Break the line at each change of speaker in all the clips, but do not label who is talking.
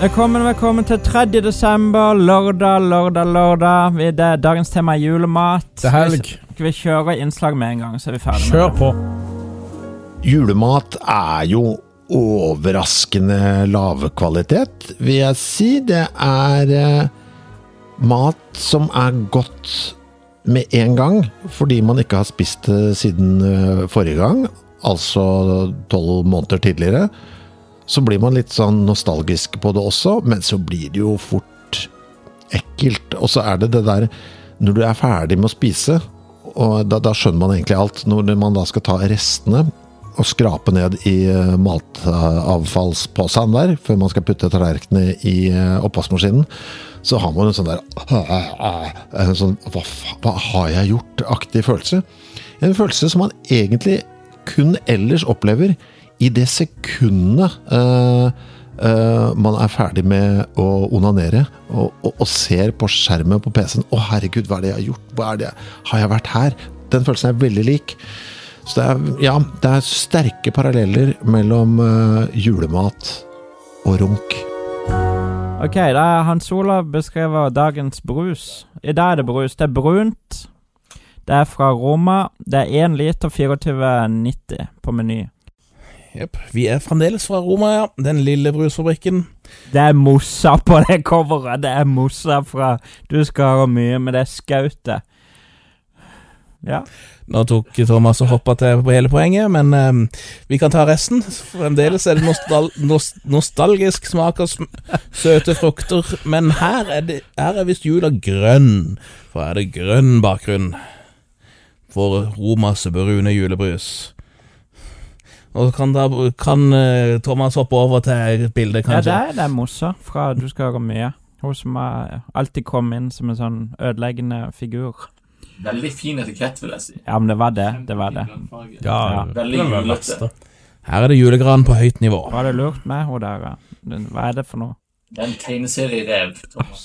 Velkommen, velkommen til 3. desember, lørdag, lørdag, lørdag. Vi- Det er dagens tema er julemat.
Det er helg.
Skal vi kjøre innslag med en gang, så er vi ferdig med
Kjør
det?
på.
Julemat er jo overraskende lav kvalitet, vil jeg si. Det er eh, mat som er godt med en gang, fordi man ikke har spist det siden eh, forrige gang, altså tolv måneder tidligere. Så blir man litt sånn nostalgisk på det også, men så blir det jo fort ekkelt. Og så er det det der når du er ferdig med å spise, og da, da skjønner man egentlig alt. Når man da skal ta restene og skrape ned i eh, matavfallsposen der, før man skal putte tallerkenene i eh, oppvaskmaskinen, så har man en sånn der en sånn, hva, fa- hva har jeg gjort?-aktig følelse. En følelse som man egentlig kun ellers opplever i det sekundet eh, eh, man er ferdig med å onanere og, og, og ser på skjermen på PC-en 'Å, herregud, hva er det jeg har gjort? Hva er det? jeg- Har jeg vært her?' Den følelsen er veldig lik. Så det er, ja, det er sterke paralleller mellom eh, julemat og runk.
Ok, da er Hans Olav beskrever dagens brus. I dag er det brus. Det er brunt. Det er fra Roma. Det er 1 liter 24,90 på meny.
Jepp. Vi er fremdeles fra Roma, ja. Den lille brusfabrikken.
Det er mossa på det coveret. Det er mossa fra Du skal ha mye, men det er skautet. Ja.
Nå tok Thomas og hoppa til på hele poenget, men eh, vi kan ta resten. Fremdeles er det nostal nos nostalgisk smak av sm søte frukter, men her er, det, her er visst jula grønn. For her er det grønn bakgrunn for Romas brune julebrus. Og kan, da, kan eh, Thomas hoppe over til et bilde,
Ja,
kanskje?
det er det er Mossa fra Du skal høre mye. Hun som er, alltid kom inn som en sånn ødeleggende figur.
Veldig fin etikett, vil jeg si.
Ja, men det var det. Det var det. Ja.
Veldig julete.
Her er det julegran på høyt nivå.
Var det lurt med hun der? ja? Den- Hva er det for noe?
Det er en tegneserierev. Thomas.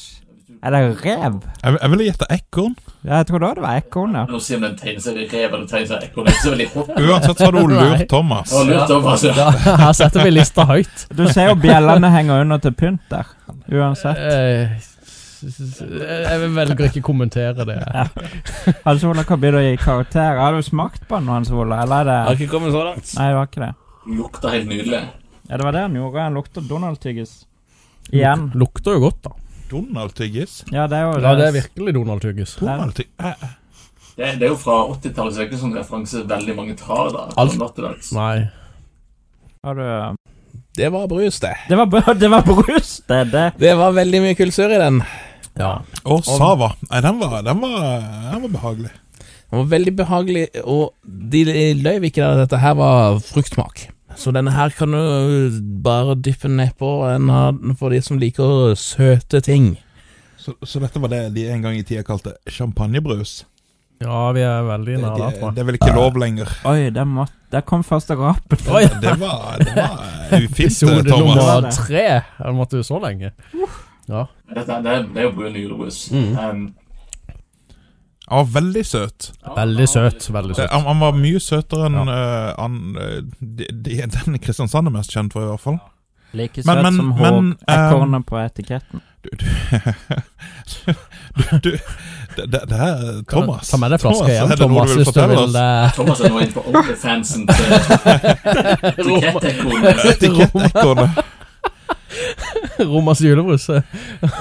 Er det rev?
Jeg, jeg ville gjette ekorn.
Ja, Jeg trodde også det var ekorn, ja.
Nå sier man en tegneserierev eller tegneserieekorn. Det er ikke så veldig hot.
Uansett så har du lurt Thomas.
Det var lurt om, altså.
Ja, her setter vi lista høyt.
Du ser jo bjellene henger under til pynt der. Uansett.
Eh, Jeg velger ikke kommentere det. Eh.
Hans Ola, hva blir det å gi karakter? Har du smakt på den, Hans Ola? Eller er
Jeg har
det
ikke kommet så langt.
Nei, det var ikke det.
Lukter helt nydelig.
Ja, det var det han gjorde. Han lukter Donald-tyggis. Igjen.
Lukter jo godt, da.
Donald Tyggis.
Ja, det er jo
Ja, det er virkelig Donald Tyggis.
Donald Tyggis. Eh,
Det, det er jo fra 80-tallet, så det er ikke sånn referanse veldig mange tar. da.
Alt-
Sånn at det er-
Nei.
Har du
Det var brus, det.
Det var, br- det var brus, det er det.
Det var veldig mye kulsur i den.
Ja.
Og Sava. Nei, den var, den var, den var behagelig.
Den var veldig behagelig, og de løy ikke der at dette her var fruktsmak. Så denne her kan du bare dyppe nedpå en av den for de som liker søte ting.
Så, så dette var det de en gang i tida kalte champagnebrus.
ja, vi er veldig
Det,
nær
det,
der, tror jeg.
det er vel ikke lov lenger.
Oi, der, må, der kom første rapen.
Oi,
Det var, det var ufint,
episode
Thomas.
var
nummer
det.
tre. Den måtte jo så lenge. Ja.
Dette, det, er- det er jo brun julebrus.
Mm.
Um,
Han var veldig søt.
Veldig søt. Veldig
Det,
søt.
han, han var mye søtere enn eh, han, eh, de, de, den Kristiansand er mest kjent for, i hvert fall.
Like søt
Men- men-
som
men, eh,
hår- ekornet på etiketten.
Du, du, du, du det, det, det her, Thomas
Ta med deg flaska hjem,
er det noe
Thomas,
vil
hvis du
fortelle
vil
oss?
det.
Thomas er nå inne på Onlyfansen til etikettekornet.
Etikettekornet.
Romas julebrus. Å,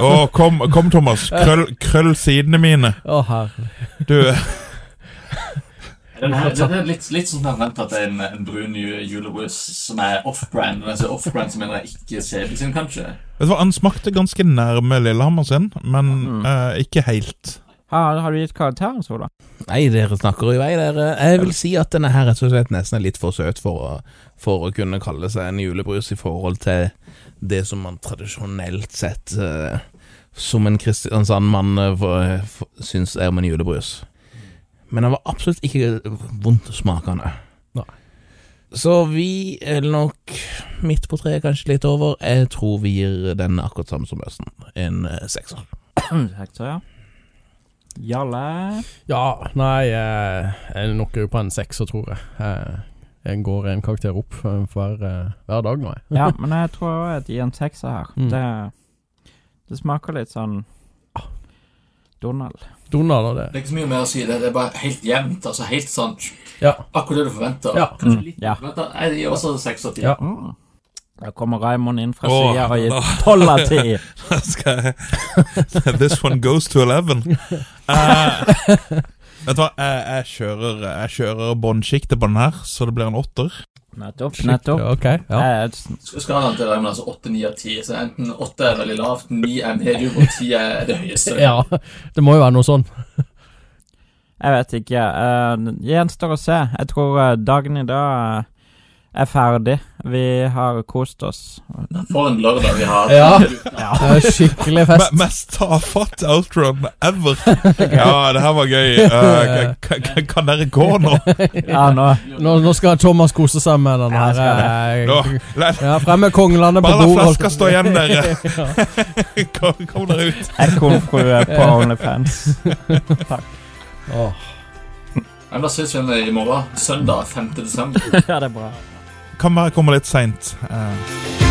Å, kom, kom, Thomas. Krøll, krøll sidene mine.
herre.
Du,
Den her- Det er litt, litt sånn forventa at det er en, en brun ju- julebrus som er off-brand. Når jeg sier off-brand, så mener jeg ikke CB sin, kanskje.
vet du hva, Han smakte ganske nærme Lillehammer sin, men eh, ikke helt.
Har, har du gitt karakteren, Sola?
Nei, dere snakker i vei, dere. Jeg vil si at denne her rett og slett nesten er litt for søt for å, for å kunne kalle seg en julebrus i forhold til det som man tradisjonelt sett eh, som en Kristiansand-mann eh, for- for- syns er om en julebrus. Men den var absolutt ikke vondt smakende.
Nei.
Så vi er nok midt på treet, kanskje litt over. Jeg tror vi gir den akkurat samme som Østen, en eh, sekser.
Hektor, Mm, ja. Jalle
Ja, nei, eh, jeg er nok på en sekser, tror jeg. Eh, Jeg går en karakter opp eh, for hver, eh, hver dag nå, jeg.
Ja, men jeg tror også jeg gir en sekser her.
Mm.
Det, det smaker litt sånn Donald.
Donald og det.
Det er ikke så mye mer å si. Det, det er bare helt jevnt. altså Helt sånn
Ja.
akkurat det du forventer.
ja.
Mm, ja.
Vent da, Jeg gir også seks av ti.
Ja.
Mm. Da kommer Raymond inn fra
Åh,
sida og gir
da.
tolv av ti.
Skal jeg This one goes to 11. Eh, vet du hva, jeg, jeg kjører, jeg kjører båndsjiktet på den her, så det blir en åtter.
Nettopp, nettopp. Eh,
Ok, ja.
Jeg,
Skalaen til Raymond er altså åtte, ni av ti. Så enten åtte er veldig lavt, ni er medium, og ti er det høyeste.
ja. Det må jo være noe sånn.
jeg vet ikke. Uh, gjenstår å se. Jeg tror eh, dagen i dag eh, er ferdig. Vi har kost oss.
For en lørdag vi har.
Ja. Det er skikkelig
Me-
fest.
Mest tafatt outrun ever. Ja, det her var gøy. Eh, k- k- k- kan dere gå nå?
Ja, nå
Nå, nå skal Thomas kose seg med den
Ja,
her.
skal
nå.
eh,
La,
Ja, frem med konglene på
bare la
bordet.
flaska stå igjen, dere. Kom, kom dere ut.
ekornfrue på OnlyFans.
Åh.
Men da ses vi igjen i morgen. Søndag 5. desember.
ja, det er bra.
Kan være jeg kommer litt seint. Eh,